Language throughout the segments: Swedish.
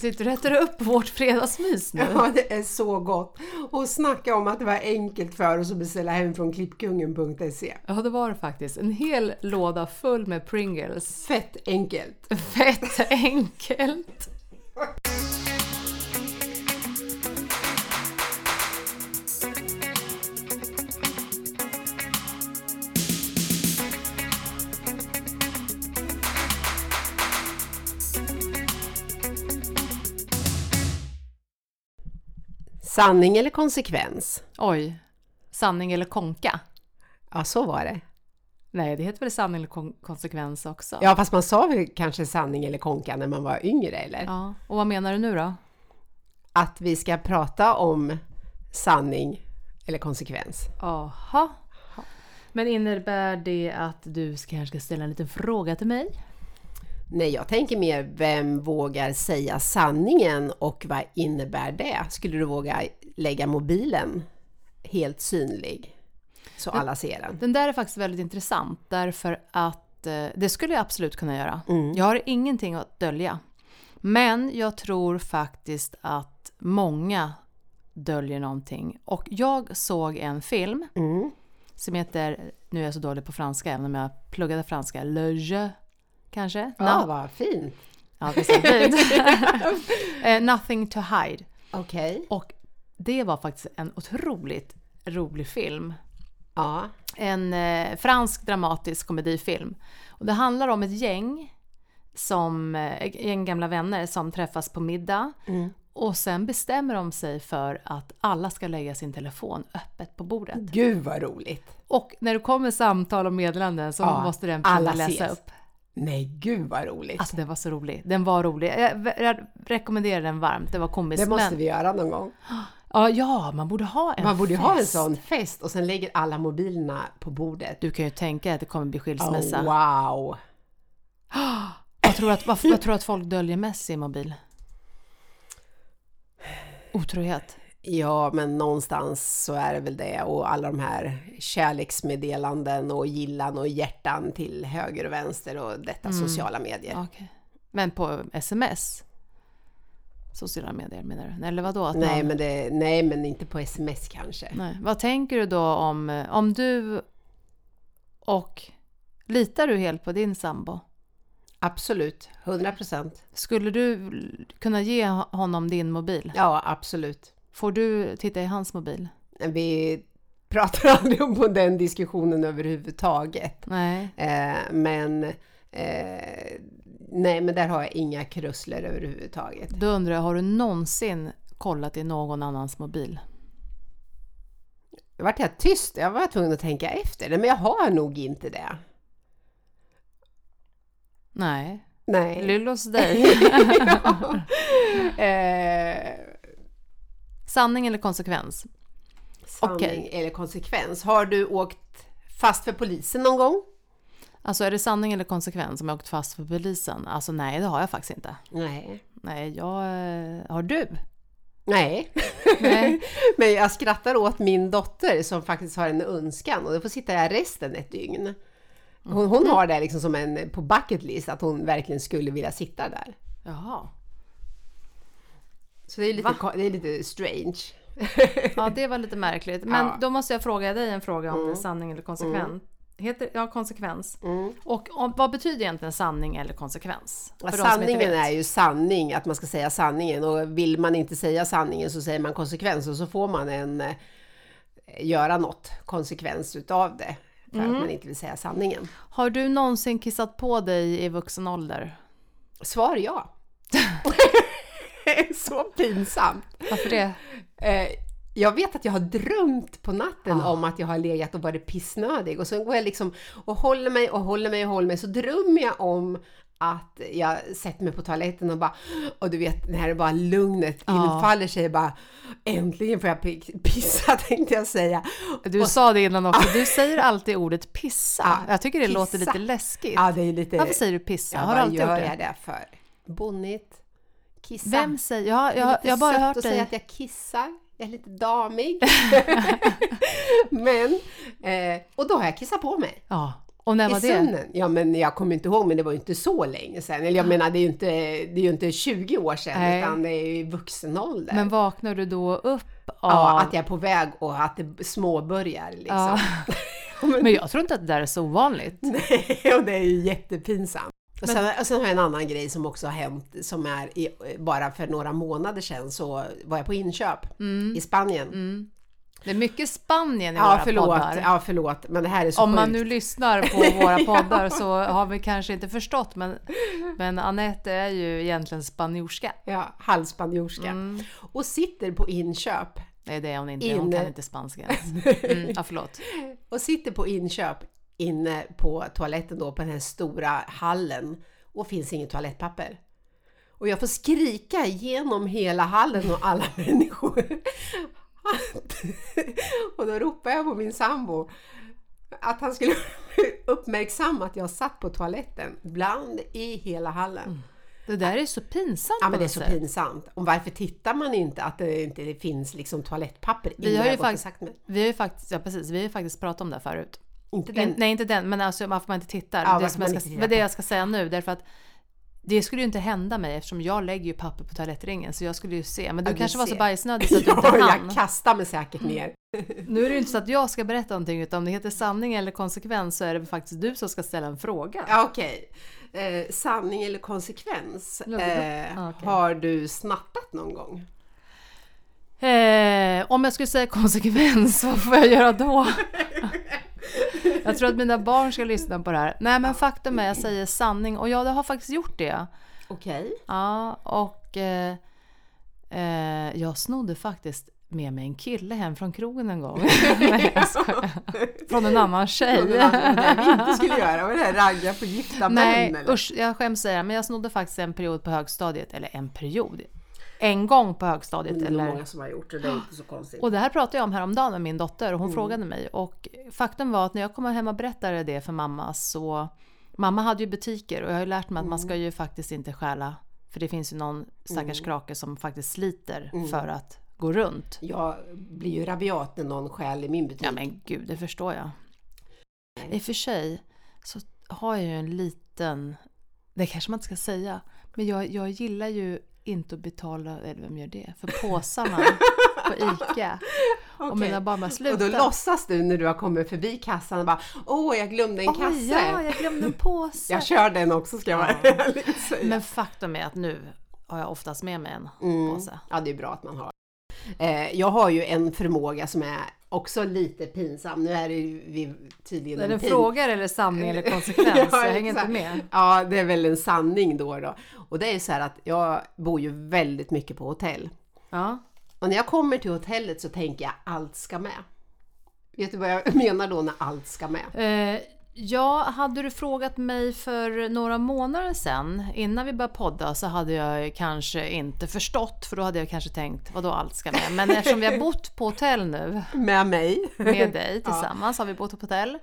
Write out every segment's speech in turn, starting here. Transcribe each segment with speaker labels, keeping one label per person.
Speaker 1: Sitter du och äter upp vårt fredagsmys nu?
Speaker 2: Ja, det är så gott! Och snacka om att det var enkelt för oss att beställa hem från klippkungen.se.
Speaker 1: Ja, det var det faktiskt. En hel låda full med Pringles.
Speaker 2: Fett enkelt!
Speaker 1: Fett enkelt!
Speaker 2: Sanning eller konsekvens?
Speaker 1: Oj. Sanning eller konka?
Speaker 2: Ja, så var det.
Speaker 1: Nej, det heter väl sanning eller kon- konsekvens också?
Speaker 2: Ja, fast man sa väl kanske sanning eller konka när man var yngre, eller?
Speaker 1: Ja. Och vad menar du nu då?
Speaker 2: Att vi ska prata om sanning eller konsekvens.
Speaker 1: Aha. Men innebär det att du ska- kanske ska ställa en liten fråga till mig?
Speaker 2: Nej, jag tänker mer vem vågar säga sanningen och vad innebär det? Skulle du våga lägga mobilen helt synlig så alla ser den?
Speaker 1: Den där är faktiskt väldigt intressant därför att eh, det skulle jag absolut kunna göra. Jag har ingenting att dölja. Men jag tror faktiskt att många döljer någonting. Och jag såg en film
Speaker 2: Mm.
Speaker 1: som heter, nu är jag så dålig på franska även om jag pluggade franska, Le Jeu kanske?
Speaker 2: Ja, vad fint!
Speaker 1: Ja, visst är det. Eh, Nothing to hide.
Speaker 2: Okej.
Speaker 1: Och det var faktiskt en otroligt rolig film.
Speaker 2: Ja.
Speaker 1: En eh, fransk dramatisk komedifilm. Och det handlar om ett gäng, som, eh, ett gäng gamla vänner som träffas på middag.
Speaker 2: Mm.
Speaker 1: Och sen bestämmer de sig för att alla ska lägga sin telefon öppet på bordet.
Speaker 2: Gud vad roligt!
Speaker 1: Och när det kommer samtal och meddelanden så
Speaker 2: Ja,
Speaker 1: måste den
Speaker 2: alla
Speaker 1: personen läsa
Speaker 2: ses.
Speaker 1: upp.
Speaker 2: Nej, gud vad roligt!
Speaker 1: Alltså den var så rolig. Den var rolig. Jag re- re- rekommenderar den varmt. Det var komiskt.
Speaker 2: det måste
Speaker 1: men...
Speaker 2: vi göra någon gång.
Speaker 1: ja, ja, man borde ha en
Speaker 2: Man borde ju ha en
Speaker 1: fest.
Speaker 2: sån fest och sen lägger alla mobilerna på bordet.
Speaker 1: Du kan ju tänka att det kommer bli skilsmässa.
Speaker 2: Oh, wow!
Speaker 1: Vad tror du att, vad, vad tror du att folk döljer mest i sin mobil? Otrohet.
Speaker 2: Ja, men någonstans så är det väl det. Och alla de här kärleksmeddelanden och gillan och hjärtan till höger och vänster och detta sociala medier.
Speaker 1: Okej. Men på sms? Sociala medier menar du? Eller vadå? Att
Speaker 2: Nej
Speaker 1: man-
Speaker 2: men, det, nej, men inte på sms kanske.
Speaker 1: Nej. Vad tänker du då om, eh, om du och... Litar du helt på din sambo?
Speaker 2: Absolut, 100 procent.
Speaker 1: Skulle du kunna ge honom din mobil?
Speaker 2: Ja, absolut.
Speaker 1: Får du titta i hans mobil?
Speaker 2: Vi pratar aldrig om den diskussionen överhuvudtaget.
Speaker 1: Nej.
Speaker 2: Eh, men eh, nej, men där har jag inga krusler överhuvudtaget.
Speaker 1: Då undrar jag, har du någonsin kollat i någon annans mobil?
Speaker 2: vart jag tyst. Jag var tvungen att tänka efter. Nej, men jag har nog inte det.
Speaker 1: Nej.
Speaker 2: Nej.
Speaker 1: Lyllos dig.
Speaker 2: eh,
Speaker 1: Sanning eller konsekvens?
Speaker 2: sanning
Speaker 1: Okej.
Speaker 2: eller konsekvens. Har du åkt fast för polisen någon gång?
Speaker 1: Alltså är det sanning eller konsekvens om jag åkt fast för polisen? Alltså nej, det har jag faktiskt inte.
Speaker 2: Nej.
Speaker 1: Nej, jag... eh, Har du?
Speaker 2: Nej.
Speaker 1: Nej.
Speaker 2: men jag skrattar åt min dotter som faktiskt har en önskan och det får sitta här resten ett dygn. Hon, hon har det liksom som en på bucket list att hon verkligen skulle vilja sitta där.
Speaker 1: Jaha.
Speaker 2: Så det är lite,
Speaker 1: Va?
Speaker 2: ko- det är lite strange.
Speaker 1: Ja, det var lite märkligt. Men
Speaker 2: Ja.
Speaker 1: då måste jag fråga dig en fråga om det är sanning eller konsekvens. Heter, ja, konsekvens.
Speaker 2: Mm.
Speaker 1: Och om, vad betyder egentligen sanning eller konsekvens?
Speaker 2: Ja,
Speaker 1: För de som inte
Speaker 2: sanningen
Speaker 1: vet.
Speaker 2: är ju sanning, att man ska säga sanningen och vill man inte säga sanningen så säger man konsekvens och så får man en eh, göra något konsekvens utav det för
Speaker 1: Mm.
Speaker 2: att man inte vill säga sanningen.
Speaker 1: Har du någonsin kissat på dig i vuxen ålder?
Speaker 2: Svar ja. så pinsamt!
Speaker 1: Varför det?
Speaker 2: Eh, jag vet att jag har drömt på natten
Speaker 1: Ah.
Speaker 2: om att jag har legat och varit pissnödig och så går jag liksom och håller mig och håller mig och håller mig så drömmer jag om att jag sätter mig på toaletten och bara och du vet när det bara lugnet
Speaker 1: Ah.
Speaker 2: infaller sig bara äntligen får jag pi- pissa tänkte jag säga.
Speaker 1: Du sa det innan också, du säger alltid ordet pissa.
Speaker 2: Ja,
Speaker 1: jag tycker det låter
Speaker 2: pissa.
Speaker 1: lite läskigt.
Speaker 2: Ja det är lite,
Speaker 1: Varför säger du pissa?
Speaker 2: jag
Speaker 1: har du
Speaker 2: bara,
Speaker 1: alltid gjort
Speaker 2: gör
Speaker 1: det?
Speaker 2: jag det för? Bonnigt. Kissa.
Speaker 1: Vem säger... Ja, jag,
Speaker 2: Det är
Speaker 1: jag,
Speaker 2: lite
Speaker 1: jag har bara
Speaker 2: sött
Speaker 1: hört
Speaker 2: att säga
Speaker 1: dig.
Speaker 2: att jag kissar. Jag är lite damig. Men, eh, och då har jag kissat på mig.
Speaker 1: Ja. Och när
Speaker 2: I
Speaker 1: var det?
Speaker 2: sömnen? Ja, men jag kommer inte ihåg, men det var ju inte så länge sedan. Eller jag menar, det är ju inte, det är ju inte 20 år sedan,
Speaker 1: Nej.
Speaker 2: utan det är ju i vuxen ålder.
Speaker 1: Men vaknar du då upp av...
Speaker 2: ja, att jag är på väg och att det småbörjar liksom.
Speaker 1: Ja. Men jag tror inte att det där är så ovanligt.
Speaker 2: Nej, och det är ju jättepinsamt. Och sen, och sen har jag en annan grej som också har hänt som är i, bara för några månader sedan så var jag på inköp
Speaker 1: Mm.
Speaker 2: i Spanien.
Speaker 1: Det är mycket Spanien i
Speaker 2: Ja
Speaker 1: våra
Speaker 2: förlåt,
Speaker 1: poddar.
Speaker 2: ja förlåt, men det här är så
Speaker 1: Om man
Speaker 2: sjukt.
Speaker 1: nu lyssnar på våra poddar så har vi kanske inte förstått men, men Anette är ju egentligen spanjorska.
Speaker 2: Ja, halvspanjorska.
Speaker 1: Mm.
Speaker 2: Och sitter på inköp
Speaker 1: Nej det är hon inte, hon kan
Speaker 2: Inne.
Speaker 1: inte spanska ens. Mm, ja, förlåt.
Speaker 2: och sitter på inköp inne på toaletten då på den här stora hallen och finns inget toalettpapper. Och jag får skrika genom hela hallen och alla människor. Att- och då ropar jag på min sambo att han skulle uppmärksamma att jag satt på toaletten bland i hela hallen.
Speaker 1: Mm. Det där är så pinsamt
Speaker 2: Ja men
Speaker 1: på
Speaker 2: det är
Speaker 1: något
Speaker 2: så
Speaker 1: sätt.
Speaker 2: pinsamt. Och varför tittar man inte att det inte det finns liksom toalettpapper?
Speaker 1: Vi
Speaker 2: innan
Speaker 1: har, ju
Speaker 2: jag gått och
Speaker 1: faktiskt,
Speaker 2: sagt mig?
Speaker 1: vi har ju faktiskt, ja precis, vi har ju faktiskt pratat om det här förut.
Speaker 2: Inte den.
Speaker 1: In, nej inte den, men alltså varför man inte tittar.
Speaker 2: Ja,
Speaker 1: det
Speaker 2: varför
Speaker 1: som jag
Speaker 2: man
Speaker 1: ska,
Speaker 2: inte tittar
Speaker 1: men det
Speaker 2: på.
Speaker 1: jag ska säga nu, därför att det skulle ju inte hända mig eftersom jag lägger ju papper på toalettringen så jag skulle ju se. Men du
Speaker 2: Ja, du
Speaker 1: kanske var så
Speaker 2: ser.
Speaker 1: bajsnödig så att du inte
Speaker 2: Ja,
Speaker 1: hann. Mm.
Speaker 2: jag kastar mig säkert ner.
Speaker 1: Nu är det ju inte så att jag ska berätta någonting utan om det heter sanning eller konsekvens så är det faktiskt du som ska ställa en fråga.
Speaker 2: Ja, Okej. Eh, sanning eller konsekvens?
Speaker 1: Låter bra.
Speaker 2: Eh,
Speaker 1: Ja, okej.
Speaker 2: Har du snattat någon gång?
Speaker 1: Eh, om jag skulle säga konsekvens, vad får jag göra då? jag tror att mina barn ska lyssna på det här. Nej men faktum är jag säger sanning och ja, det har faktiskt gjort det.
Speaker 2: Okej.
Speaker 1: Ja, och eh, eh, jag snodde faktiskt med mig en kille hem från krogen en gång. Nej, jag skojar. från en annan
Speaker 2: Det
Speaker 1: tjej.
Speaker 2: var det vi inte skulle göra. Var det här ragga på gifta
Speaker 1: Nej
Speaker 2: män eller?
Speaker 1: usch, jag skäms säga men jag snodde faktiskt en period på högstadiet, eller en period, en gång på högstadiet.
Speaker 2: Det är nog
Speaker 1: eller...
Speaker 2: många som har gjort det, det är inte så konstigt.
Speaker 1: Och det här pratade jag om häromdagen med min dotter och hon frågade mig och faktum var att när jag kom hem och berättade det för mamma så Mamma hade ju butiker och jag har ju lärt mig att man ska ju faktiskt inte stjäla för det finns ju någon stackars krake som faktiskt sliter för att gå runt.
Speaker 2: Jag blir ju rabiat när någon stjäl i min butik.
Speaker 1: Ja men gud, det förstår jag. I och för sig så har jag ju en liten, det kanske man inte ska säga, men jag, jag gillar ju inte att betala, eller vem gör det, för påsarna på ICA. Och
Speaker 2: Okej.
Speaker 1: mina barn bara
Speaker 2: och då
Speaker 1: sluta.
Speaker 2: låtsas du när du har kommit förbi kassan och bara Åh, jag glömde en
Speaker 1: Oj,
Speaker 2: kasse.
Speaker 1: ja, jag glömde en påse.
Speaker 2: Jag kör den också ska jag vara
Speaker 1: Ja.
Speaker 2: ärlig och säga.
Speaker 1: Men faktum är att nu har jag oftast med mig en
Speaker 2: Mm.
Speaker 1: påse.
Speaker 2: Ja, det är bra att man har. Eh, jag har ju en förmåga som är också lite pinsam. Nu är det ju vi tydligen
Speaker 1: Är
Speaker 2: en
Speaker 1: det
Speaker 2: pin-
Speaker 1: frågar eller sanning eller konsekvens?
Speaker 2: Ja,
Speaker 1: jag hänger inte
Speaker 2: exakt.
Speaker 1: med.
Speaker 2: Ja, det är väl en sanning då. då. Och det är ju så här att jag bor ju väldigt mycket på hotell.
Speaker 1: Ja.
Speaker 2: Och när jag kommer till hotellet så tänker jag allt ska med. Vet du vad jag menar då när allt ska med?
Speaker 1: Eh, ja, hade du frågat mig för några månader sedan innan vi började podda så hade jag ju kanske inte förstått för då hade jag kanske tänkt vadå allt ska med? Men eftersom vi har bott på hotell nu
Speaker 2: Med mig?
Speaker 1: med dig tillsammans har vi bott på hotell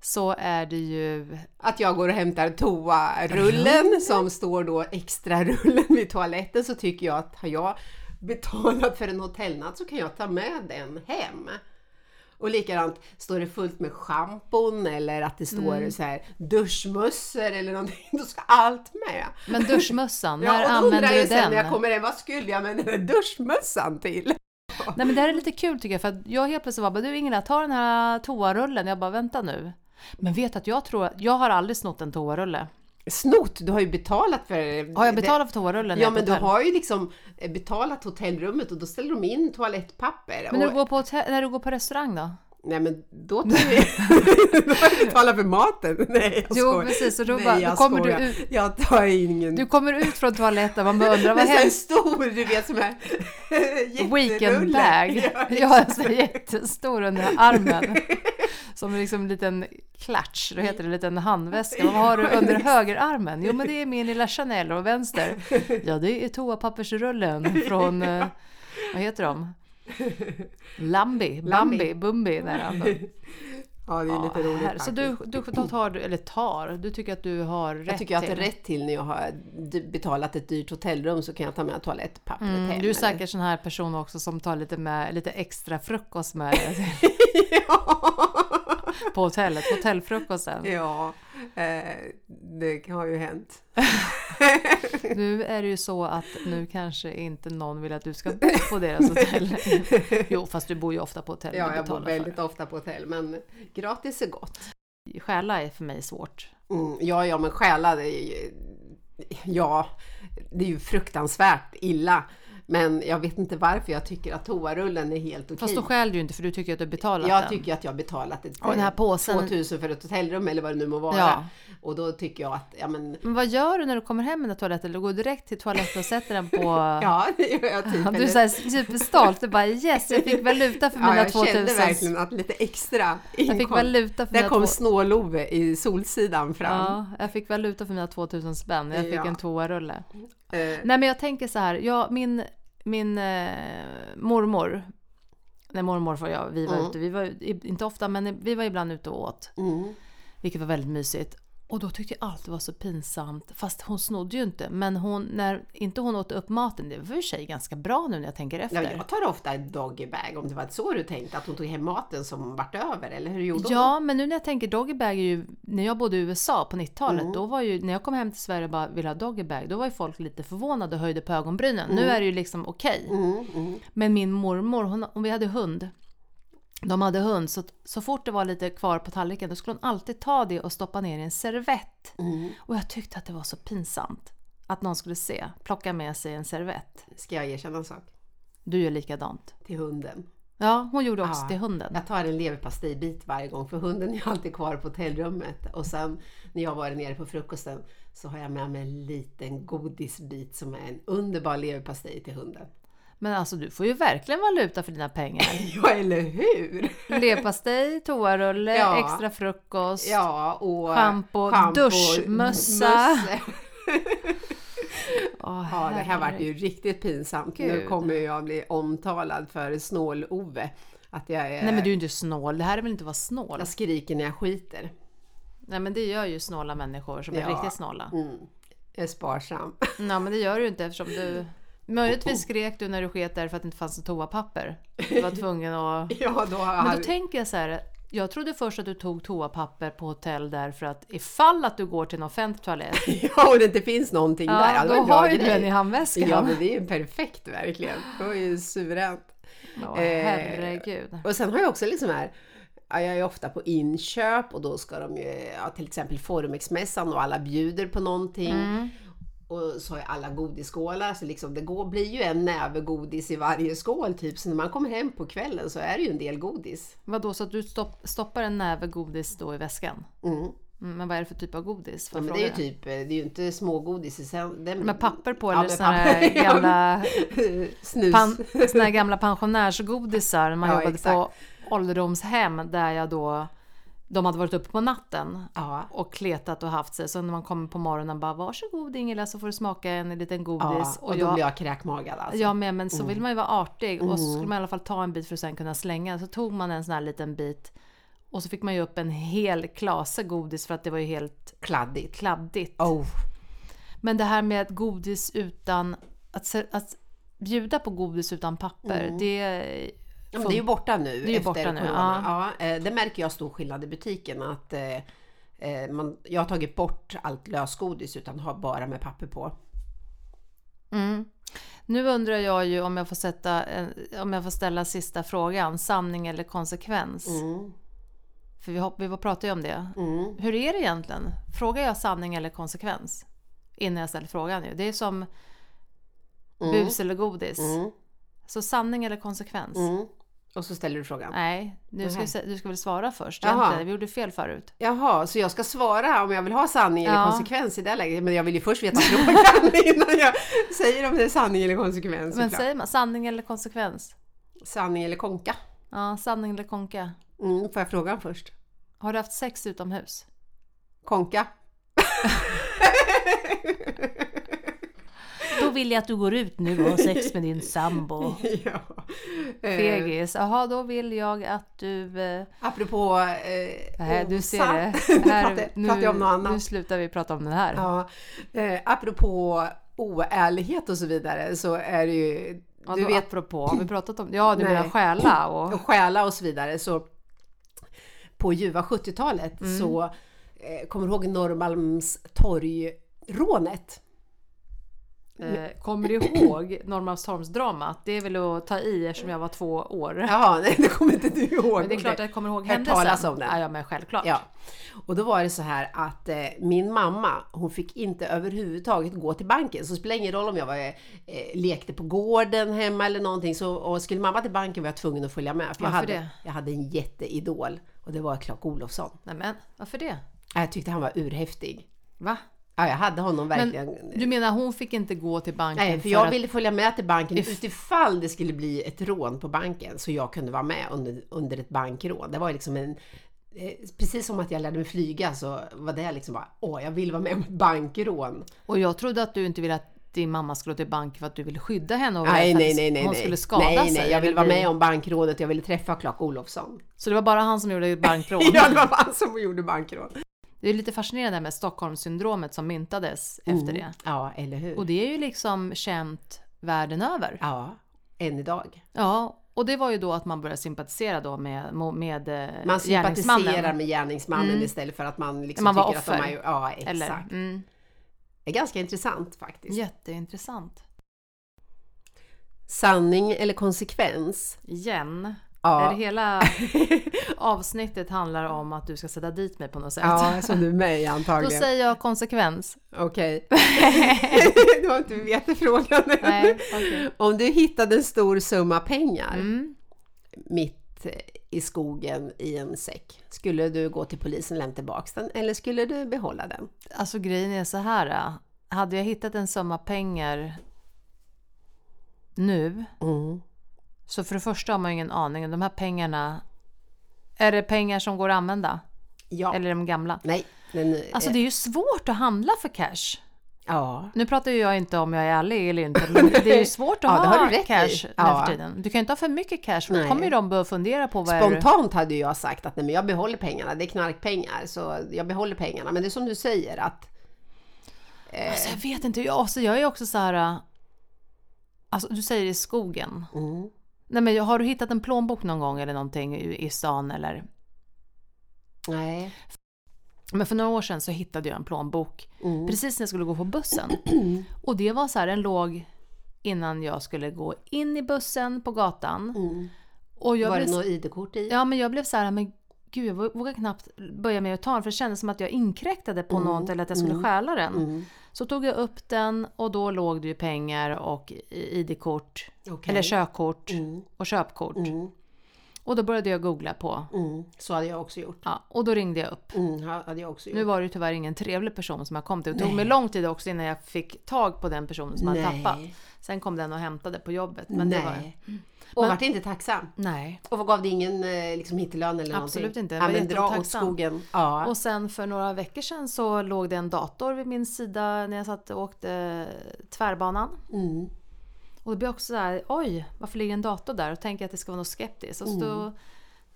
Speaker 1: så är det ju
Speaker 2: Att jag går och hämtar toarullen som står då extra rullen vid toaletten så tycker jag att har jag betalat för en hotellnatt så kan jag ta med den hem. Och likadant, står det fullt med schampon eller att det står
Speaker 1: Mm.
Speaker 2: så här duschmössor eller någonting, då ska allt med.
Speaker 1: Men duschmössan, när
Speaker 2: Ja, och då undrar
Speaker 1: använder du
Speaker 2: jag sen
Speaker 1: den?
Speaker 2: när jag kommer hem, vad skulle jag med den där duschmössan till?
Speaker 1: Nej men det här är lite kul tycker jag för att jag helt plötsligt var bara du Ingela ta den här toarullen. Jag bara vänta nu. Men vet du att jag tror att jag har aldrig snott en toarulle.
Speaker 2: Snott, du har ju betalat för...
Speaker 1: Har jag betalat för toarullen? när jag är
Speaker 2: Ja
Speaker 1: på
Speaker 2: men du
Speaker 1: hotell?
Speaker 2: har ju liksom betalat hotellrummet och då ställer de in toalettpapper.
Speaker 1: Men när
Speaker 2: och,
Speaker 1: du, går på hotell, när du går på restaurang då?
Speaker 2: Nej men då tar vi... då har jag betalat för maten. Nej jag
Speaker 1: Jo,
Speaker 2: skojar.
Speaker 1: precis, och då
Speaker 2: Nej,
Speaker 1: bara- då
Speaker 2: jag
Speaker 1: kommer du
Speaker 2: skojar.
Speaker 1: ut-
Speaker 2: Jag tar ingen...
Speaker 1: Du kommer ut från toaletten man bara undrar
Speaker 2: det
Speaker 1: vad
Speaker 2: är så här
Speaker 1: händer?
Speaker 2: stor, du vet som är
Speaker 1: Weekendbag.
Speaker 2: Ja,
Speaker 1: Jag har en sån här jättestor under armen. Som liksom en liten klatsch, då heter det en liten handväska. Vad har du under högerarmen? Jo men det är min lilla Chanel och vänster. Ja det är toapappersrullen från, eh, vad heter de? Lambi, Bambi,
Speaker 2: Lambi.
Speaker 1: Bumbi. Där
Speaker 2: ja det är lite roligt
Speaker 1: här. Så
Speaker 2: faktiskt.
Speaker 1: du, du då tar, du- eller tar, du tycker att du har rätt
Speaker 2: Jag tycker jag att det är
Speaker 1: till.
Speaker 2: rätt till när jag har d- betalat ett dyrt hotellrum så kan jag ta med toalettpappret
Speaker 1: Mm,
Speaker 2: hem.
Speaker 1: du är
Speaker 2: eller?
Speaker 1: säkert sån här person också som tar lite, med, lite extra frukost med dig.
Speaker 2: ja.
Speaker 1: på hotellet, på hotellfrukosten.
Speaker 2: Ja, eh, det har ju hänt.
Speaker 1: Nu är det ju så att nu kanske inte någon vill att du ska bo på deras hotell. Jo, fast du bor ju ofta på hotell.
Speaker 2: Ja,
Speaker 1: du
Speaker 2: jag bor
Speaker 1: betalar för
Speaker 2: väldigt ofta på hotell, men gratis är gott.
Speaker 1: det. Stjäla är för mig svårt.
Speaker 2: Mm, ja, ja, men stjäla, det är ju, ja, det är ju fruktansvärt illa. Men jag vet inte varför jag tycker att toarullen är helt okej.
Speaker 1: Fast då stjäl du ju inte för du tycker att du har betalat
Speaker 2: Jag
Speaker 1: den.
Speaker 2: tycker att jag har betalat ett,
Speaker 1: Och den här påsen-
Speaker 2: 2000 för ett hotellrum eller vad det nu må vara.
Speaker 1: Ja.
Speaker 2: Och då tycker jag att, ja men,
Speaker 1: Men vad gör du när du kommer hem med den här toaletten? Du går direkt till toaletten och sätter den på...
Speaker 2: ja det gör jag typ.
Speaker 1: Ja, du är
Speaker 2: Eller-
Speaker 1: såhär superstolt, du bara yes, jag fick valuta för mina
Speaker 2: ja, jag
Speaker 1: 2000.
Speaker 2: kände verkligen att lite extra
Speaker 1: Jag fick valuta för
Speaker 2: Där
Speaker 1: mina
Speaker 2: kom
Speaker 1: två-
Speaker 2: snål-Ove i Solsidan fram.
Speaker 1: Ja, jag fick valuta för mina 2000 spänn, jag fick
Speaker 2: Ja.
Speaker 1: en toarulle.
Speaker 2: Eh,
Speaker 1: Nej men jag tänker så här, jag, min, min eh, mormor, när mormor och jag, vi var ute, vi var i- inte ofta men vi var ibland ute och åt,
Speaker 2: mm.
Speaker 1: vilket var väldigt mysigt. Och då tyckte jag allt det var så pinsamt, fast hon snodde ju inte. Men hon, när inte hon åt upp maten, det var för sig ganska bra nu när jag tänker
Speaker 2: Ja,
Speaker 1: efter.
Speaker 2: jag tar ofta en doggybag om det var så du tänkte, att hon tog hem maten som vart över, eller hur gjorde hon?
Speaker 1: Ja, men nu när jag tänker doggybag är ju, när jag bodde i USA på 90-talet,
Speaker 2: Mm.
Speaker 1: då var ju, när jag kom hem till Sverige och bara ville ha doggybag, då var ju folk lite förvånade och höjde på ögonbrynen. Nu är det ju liksom okej.
Speaker 2: Mm, mm.
Speaker 1: Men min mormor, hon, om vi hade hund, de hade hund, så, så fort det var lite kvar på tallriken då skulle hon alltid ta det och stoppa ner i en servett.
Speaker 2: Mm.
Speaker 1: Och jag tyckte att det var så pinsamt att någon skulle se, plocka med sig en servett.
Speaker 2: Ska jag erkänna en sak?
Speaker 1: Du gör likadant.
Speaker 2: Till hunden.
Speaker 1: Ja, hon gjorde också
Speaker 2: Ja.
Speaker 1: till hunden.
Speaker 2: Jag tar en leverpastejbit varje gång för hunden är alltid kvar på hotellrummet. Och sen när jag var nere på frukosten så har jag med mig en liten godisbit som är en underbar leverpastej till hunden.
Speaker 1: Men alltså du får ju verkligen valuta för dina pengar.
Speaker 2: Ja, eller hur?
Speaker 1: Leverpastej, toarulle,
Speaker 2: Ja.
Speaker 1: extra frukost.
Speaker 2: Ja, och
Speaker 1: Schampo, duschmössa.
Speaker 2: mössa.
Speaker 1: Åh,
Speaker 2: Ja, det här vart
Speaker 1: herregud.
Speaker 2: ju riktigt pinsamt. Nu
Speaker 1: Gud.
Speaker 2: kommer jag bli omtalad för snål-Ove. Att jag, är,
Speaker 1: Nej men du är ju inte snål, det här är väl inte att vara snål?
Speaker 2: jag skriker när jag skiter.
Speaker 1: Nej men det gör ju snåla människor som
Speaker 2: Ja.
Speaker 1: är riktigt snåla.
Speaker 2: Mm. Jag är sparsam.
Speaker 1: Nej men det gör du ju inte eftersom du... Möjligtvis skrek du när du sket därför att det inte fanns något toapapper. Du var tvungen att...
Speaker 2: Ja, då har jag...
Speaker 1: Men då tänker jag så här. Jag trodde först att du tog toapapper på hotell därför att ifall att du går till en offentlig toalett,
Speaker 2: ja, och det inte finns någonting där.
Speaker 1: ja,
Speaker 2: det
Speaker 1: då
Speaker 2: var en bra
Speaker 1: har ju du
Speaker 2: grej.
Speaker 1: en i handväskan.
Speaker 2: Ja, men det är ju perfekt verkligen. Det var ju suveränt.
Speaker 1: Åh,
Speaker 2: eh,
Speaker 1: herregud.
Speaker 2: Och sen har jag också liksom här, ja, jag är ofta på inköp och då ska de ju, ja, till exempel Formexmässan och alla bjuder på någonting.
Speaker 1: Mm.
Speaker 2: Och så har jag alla godisskålar, så liksom det går, blir ju en näve godis i varje skål typ. Så när man kommer hem på kvällen så är det ju en del godis.
Speaker 1: Vadå, så att du stopp, stoppar en näve godis då i väskan?
Speaker 2: Mm.
Speaker 1: Mm, Men vad är det för typ av godis? Får jag
Speaker 2: Ja, men det är
Speaker 1: fråga
Speaker 2: ju typ, det är ju inte smågodis i sen. det-
Speaker 1: Med papper på
Speaker 2: Ja,
Speaker 1: eller
Speaker 2: med
Speaker 1: såna här
Speaker 2: papper.
Speaker 1: gamla,
Speaker 2: Snus.
Speaker 1: pan, såna här gamla pensionärsgodisar när man
Speaker 2: Ja,
Speaker 1: jobbade
Speaker 2: exakt.
Speaker 1: på ålderdomshem där jag då, de hade varit uppe på natten
Speaker 2: Ja.
Speaker 1: och kletat och haft sig. Så när man kommer på morgonen bara varsågod Ingela så får du smaka en liten
Speaker 2: ja,
Speaker 1: godis.
Speaker 2: och då
Speaker 1: jag,
Speaker 2: blir jag kräkmagad alltså. Mm.
Speaker 1: jag med, men så vill man ju vara artig och så skulle man i alla fall ta en bit för att sen kunna slänga. Så tog man en sån här liten bit och så fick man ju upp en hel klase godis för att det var ju helt
Speaker 2: Kladdigt.
Speaker 1: kladdigt.
Speaker 2: Oh.
Speaker 1: Men det här med godis utan... Att, se- att bjuda på godis utan papper, det...
Speaker 2: Mm. Ja, men det är ju borta nu
Speaker 1: är ju
Speaker 2: efter
Speaker 1: borta nu,
Speaker 2: corona. Ja. eh, det märker jag stor skillnad i butiken. Att, eh, eh, man, jag har tagit bort allt lösgodis utan har bara med papper på.
Speaker 1: Mm. Nu undrar jag ju om jag får, sätta, en- om jag får ställa sista frågan, sanning eller konsekvens?
Speaker 2: Mm.
Speaker 1: För vi, hopp, vi pratade ju om det.
Speaker 2: Mm.
Speaker 1: Hur är det egentligen? Frågar jag sanning eller konsekvens? Innan jag ställer frågan ju. Det är som bus eller godis.
Speaker 2: Mm.
Speaker 1: Så sanning eller konsekvens?
Speaker 2: Mm. Och så ställer du frågan.
Speaker 1: Nej, du ska,
Speaker 2: Nej.
Speaker 1: ju sä- du ska väl svara först
Speaker 2: Jaha.
Speaker 1: egentligen. Vi gjorde fel förut.
Speaker 2: Jaha, så jag ska svara om jag vill ha sanning eller
Speaker 1: Ja.
Speaker 2: konsekvens i det här läget. Men jag vill ju först veta frågan innan jag säger om det är sanning eller konsekvens.
Speaker 1: Men
Speaker 2: såklart.
Speaker 1: säger man sanning eller konsekvens?
Speaker 2: Sanning eller konka?
Speaker 1: Ja, sanning eller konka?
Speaker 2: Mm, får jag frågan först?
Speaker 1: Har du haft sex utomhus?
Speaker 2: Konka?
Speaker 1: Då vill jag att du går ut nu och har sex med din sambo.
Speaker 2: ja. Eh,
Speaker 1: Fegis. Jaha, då vill jag att du... Eh,
Speaker 2: Apropå... Eh,
Speaker 1: nej, Äh, du ser
Speaker 2: osann-
Speaker 1: det.
Speaker 2: Pratar- pratar jag om något annat?
Speaker 1: nu slutar vi prata om det här. Ja,
Speaker 2: Ja, eh, apropå oärlighet och så vidare så är det ju... Du
Speaker 1: då,
Speaker 2: vet,
Speaker 1: apropå, har vi pratat om... Ja, du
Speaker 2: Nej.
Speaker 1: menar stjäla och...
Speaker 2: och stjäla och så vidare så på ljuva 70-talet
Speaker 1: Mm.
Speaker 2: så eh, kommer du ihåg Norrmalms torgrånet?
Speaker 1: Eh, kommer du ihåg Norrmalmstormsdramat? Det är väl att ta i eftersom jag var två år.
Speaker 2: Jaha, nej det kommer inte du ihåg.
Speaker 1: Men det är klart att jag kommer ihåg
Speaker 2: Hört
Speaker 1: händelsen.
Speaker 2: talas om den.
Speaker 1: Ja, ja, men självklart.
Speaker 2: Ja. Och då var det så här att eh, min mamma, hon fick inte överhuvudtaget gå till banken. Så det spelade ingen roll om jag var, eh, lekte på gården hemma eller någonting. Så och skulle mamma till banken var jag tvungen att följa med. För jag,
Speaker 1: Varför
Speaker 2: hade,
Speaker 1: det?
Speaker 2: jag hade en jätteidol och det var Clark Olofsson.
Speaker 1: Nej, men varför det?
Speaker 2: Jag tyckte han var urhäftig.
Speaker 1: Va?
Speaker 2: Ja, jag hade honom
Speaker 1: Men
Speaker 2: verkligen.
Speaker 1: du menar hon fick inte gå till banken
Speaker 2: Nej, för jag
Speaker 1: att...
Speaker 2: ville följa med till banken utifall det skulle bli ett rån på banken så jag kunde vara med under, under ett bankrån. Det var liksom en... eh, Precis som att jag lärde mig flyga så var det liksom bara, åh jag vill vara med om ett bankrån.
Speaker 1: Och jag trodde att du inte ville att din mamma skulle gå till banken för att du ville skydda henne och
Speaker 2: Nej,
Speaker 1: för att
Speaker 2: nej, nej, nej.
Speaker 1: hon
Speaker 2: nej.
Speaker 1: skulle skada
Speaker 2: nej,
Speaker 1: sig.
Speaker 2: Nej, jag ville
Speaker 1: eller
Speaker 2: vara
Speaker 1: bli-
Speaker 2: med om bankrånet, jag ville träffa Clark Olofsson.
Speaker 1: Så det var bara han som gjorde ett bankrån?
Speaker 2: Ja, det var han som gjorde bankrån.
Speaker 1: Det är lite fascinerande det här med Stockholmssyndromet som myntades
Speaker 2: Mm.
Speaker 1: efter det.
Speaker 2: Ja, eller hur?
Speaker 1: Och det är ju liksom känt världen över.
Speaker 2: Ja, än idag.
Speaker 1: Ja, och det var ju då att man började sympatisera då med, mo- med eh,
Speaker 2: Man sympatiserar
Speaker 1: gärningsmannen. Mm.
Speaker 2: med gärningsmannen istället för att man liksom
Speaker 1: Man var
Speaker 2: tycker att
Speaker 1: offer.
Speaker 2: de är... Ja, exakt.
Speaker 1: Eller, mm,
Speaker 2: Det är ganska intressant faktiskt.
Speaker 1: jätteintressant.
Speaker 2: Sanning eller konsekvens?
Speaker 1: Igen.
Speaker 2: Ja.
Speaker 1: Är det hela avsnittet handlar om att du ska sätta dit mig på något sätt.
Speaker 2: Ja, som du är med i
Speaker 1: Då
Speaker 2: antagligen.
Speaker 1: säger jag konsekvens.
Speaker 2: Okej. du har inte vetat frågan än.
Speaker 1: Nej, okej.
Speaker 2: Om du hittade en stor summa pengar
Speaker 1: Mm.
Speaker 2: mitt i skogen i en säck, skulle du gå till polisen och lämna tillbaks den eller skulle du behålla den?
Speaker 1: Alltså grejen är så här. äh. Hade jag hittat en summa pengar nu. Mm. Så för det första har man ju ingen aning om de här pengarna. Är det pengar som går att använda?
Speaker 2: Ja.
Speaker 1: Eller de gamla?
Speaker 2: Nej. Men,
Speaker 1: Alltså
Speaker 2: eh,
Speaker 1: det är ju svårt att handla för cash.
Speaker 2: ja.
Speaker 1: Nu pratar ju jag inte om jag är ärlig eller inte, men det är ju svårt att
Speaker 2: Ja, det
Speaker 1: ha
Speaker 2: har du rätt i.
Speaker 1: cash
Speaker 2: Ja.
Speaker 1: nu för tiden. Du kan ju inte ha för mycket cash, för
Speaker 2: Nej.
Speaker 1: då kommer ju de börja fundera på vad är du...
Speaker 2: Spontant hade ju jag sagt att nej, men jag behåller pengarna, det är knarkpengar så jag behåller pengarna. Men det är som du säger att
Speaker 1: Alltså jag vet inte, jag, alltså, jag är också så här... äh, Alltså du säger i skogen.
Speaker 2: mm,
Speaker 1: Nej men har du hittat en plånbok någon gång eller någonting i, i stan eller?
Speaker 2: nej.
Speaker 1: Men för några år sedan så hittade jag en plånbok
Speaker 2: Mm.
Speaker 1: precis när jag skulle gå på bussen. Och det var så här, den låg innan jag skulle gå in i bussen på gatan.
Speaker 2: Mm.
Speaker 1: Och jag
Speaker 2: Var det
Speaker 1: blev,
Speaker 2: något ID-kort i?
Speaker 1: ja men jag blev så här, men gud jag vågar knappt börja med att ta den för det kändes som att jag inkräktade på något eller att jag skulle stjäla den.
Speaker 2: Mm.
Speaker 1: Så tog jag upp den och då låg det ju pengar och i- ID-kort,
Speaker 2: Okej.
Speaker 1: eller körkort
Speaker 2: Mm.
Speaker 1: och köpkort.
Speaker 2: Mm.
Speaker 1: Och då började jag googla på.
Speaker 2: Mm. Så hade jag också gjort.
Speaker 1: Ja, och då ringde jag upp.
Speaker 2: Mm, ha- hade jag också gjort.
Speaker 1: Nu var det ju tyvärr ingen trevlig person som jag kom till. Det tog mig lång tid också innan jag fick tag på den personen som hade
Speaker 2: Nej.
Speaker 1: tappat. Sen kom den och hämtade på jobbet. Men
Speaker 2: Nej.
Speaker 1: det var... Mm.
Speaker 2: Och vart inte tacksam.
Speaker 1: Nej.
Speaker 2: Och vad gav det ingen eh, liksom, hittelön eller någonting?
Speaker 1: Absolut inte. Jag
Speaker 2: Ja,
Speaker 1: var
Speaker 2: men dra åt
Speaker 1: jätteotacksam.
Speaker 2: skogen. Ja.
Speaker 1: Och sen för några veckor sedan så låg det en dator vid min sida när jag satt och åkte tvärbanan.
Speaker 2: Mm.
Speaker 1: Och då blev jag också så här, oj, varför ligger en dator där? Och tänker jag att det ska vara något skeptiskt. Och så
Speaker 2: Mm.
Speaker 1: då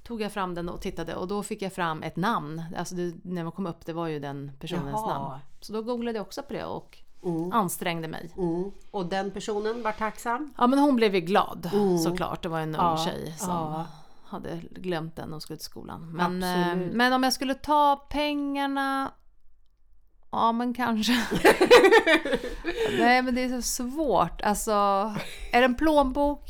Speaker 1: tog jag fram den och tittade och då fick jag fram ett namn. Alltså det, när man kom upp, det var ju den personens
Speaker 2: Jaha.
Speaker 1: namn. Så då googlade jag också på det och
Speaker 2: Mm.
Speaker 1: ansträngde mig.
Speaker 2: Mm. Och den personen var tacksam.
Speaker 1: Ja men hon blev ju glad såklart. Det var en ung
Speaker 2: Mm. Ja,
Speaker 1: tjej som
Speaker 2: ja.
Speaker 1: hade glömt den när hon skulle till skolan. Men,
Speaker 2: Absolut.
Speaker 1: eh, men om jag skulle ta pengarna... Ja men kanske. Nej men det är så svårt. Alltså, är det en plånbok?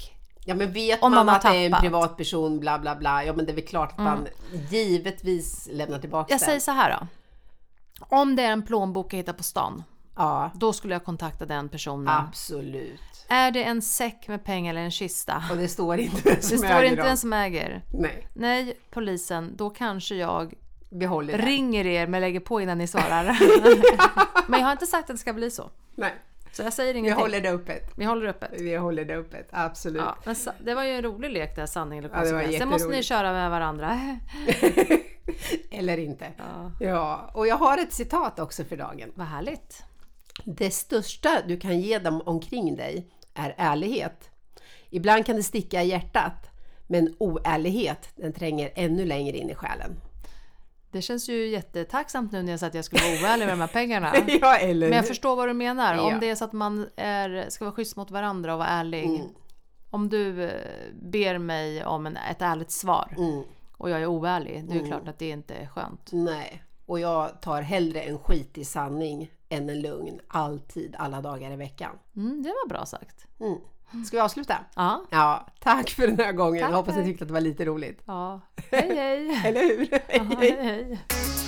Speaker 2: Ja men vet
Speaker 1: Om
Speaker 2: man,
Speaker 1: man har
Speaker 2: att det är en
Speaker 1: tappat. Mm.
Speaker 2: privatperson bla bla bla. Ja men det är väl klart att man givetvis lämnar tillbaka
Speaker 1: Jag
Speaker 2: den.
Speaker 1: säger så här då. Om det är en plånbok jag hittar på stan,
Speaker 2: Ja
Speaker 1: då skulle jag kontakta den personen.
Speaker 2: absolut.
Speaker 1: Är det en säck med pengar eller en kista?
Speaker 2: Och det står inte vem
Speaker 1: Det
Speaker 2: som
Speaker 1: står
Speaker 2: äger
Speaker 1: inte
Speaker 2: dem.
Speaker 1: den som äger.
Speaker 2: Nej,
Speaker 1: Nej, polisen, då kanske jag
Speaker 2: behåller den.
Speaker 1: ringer er men lägger på innan ni svarar. men jag har inte sagt att det ska bli så.
Speaker 2: Nej,
Speaker 1: Så jag säger
Speaker 2: vi
Speaker 1: ingenting.
Speaker 2: håller det öppet.
Speaker 1: Vi håller öppet.
Speaker 2: Vi håller det öppet, absolut.
Speaker 1: Ja, men sa- det var ju en rolig lek där, sanning eller
Speaker 2: det var
Speaker 1: konsekvens. Sen måste ni
Speaker 2: jätteroligt.
Speaker 1: köra med varandra.
Speaker 2: Eller inte. Ja.
Speaker 1: Ja,
Speaker 2: och jag har ett citat också för dagen.
Speaker 1: vad härligt.
Speaker 2: Det största du kan ge dem omkring dig är ärlighet. Ibland kan det sticka i hjärtat, men oärlighet den tränger ännu längre in i själen.
Speaker 1: Det känns ju jättetacksamt nu när jag sa att jag skulle vara oärlig med de här pengarna.
Speaker 2: Ja, eller
Speaker 1: Men jag förstår vad du menar.
Speaker 2: Ja.
Speaker 1: Om det är så att man är, ska vara schysst mot varandra och
Speaker 2: Mm.
Speaker 1: vara ärlig. Om du eh, ber mig om en, ett ärligt svar
Speaker 2: Mm.
Speaker 1: och jag är oärlig, det är ju klart att det inte är skönt.
Speaker 2: Nej. Och jag tar hellre en skitig sanning än en lugn. Alltid, alla dagar i veckan.
Speaker 1: Mm, det var bra sagt.
Speaker 2: Mm. Ska vi avsluta?
Speaker 1: Ja.
Speaker 2: Ja, tack för den här gången.
Speaker 1: Tack,
Speaker 2: jag hoppas ni
Speaker 1: tack.
Speaker 2: tyckte att det var lite roligt.
Speaker 1: ja. Hej hej!
Speaker 2: Eller hur?
Speaker 1: Ja, hej, hej.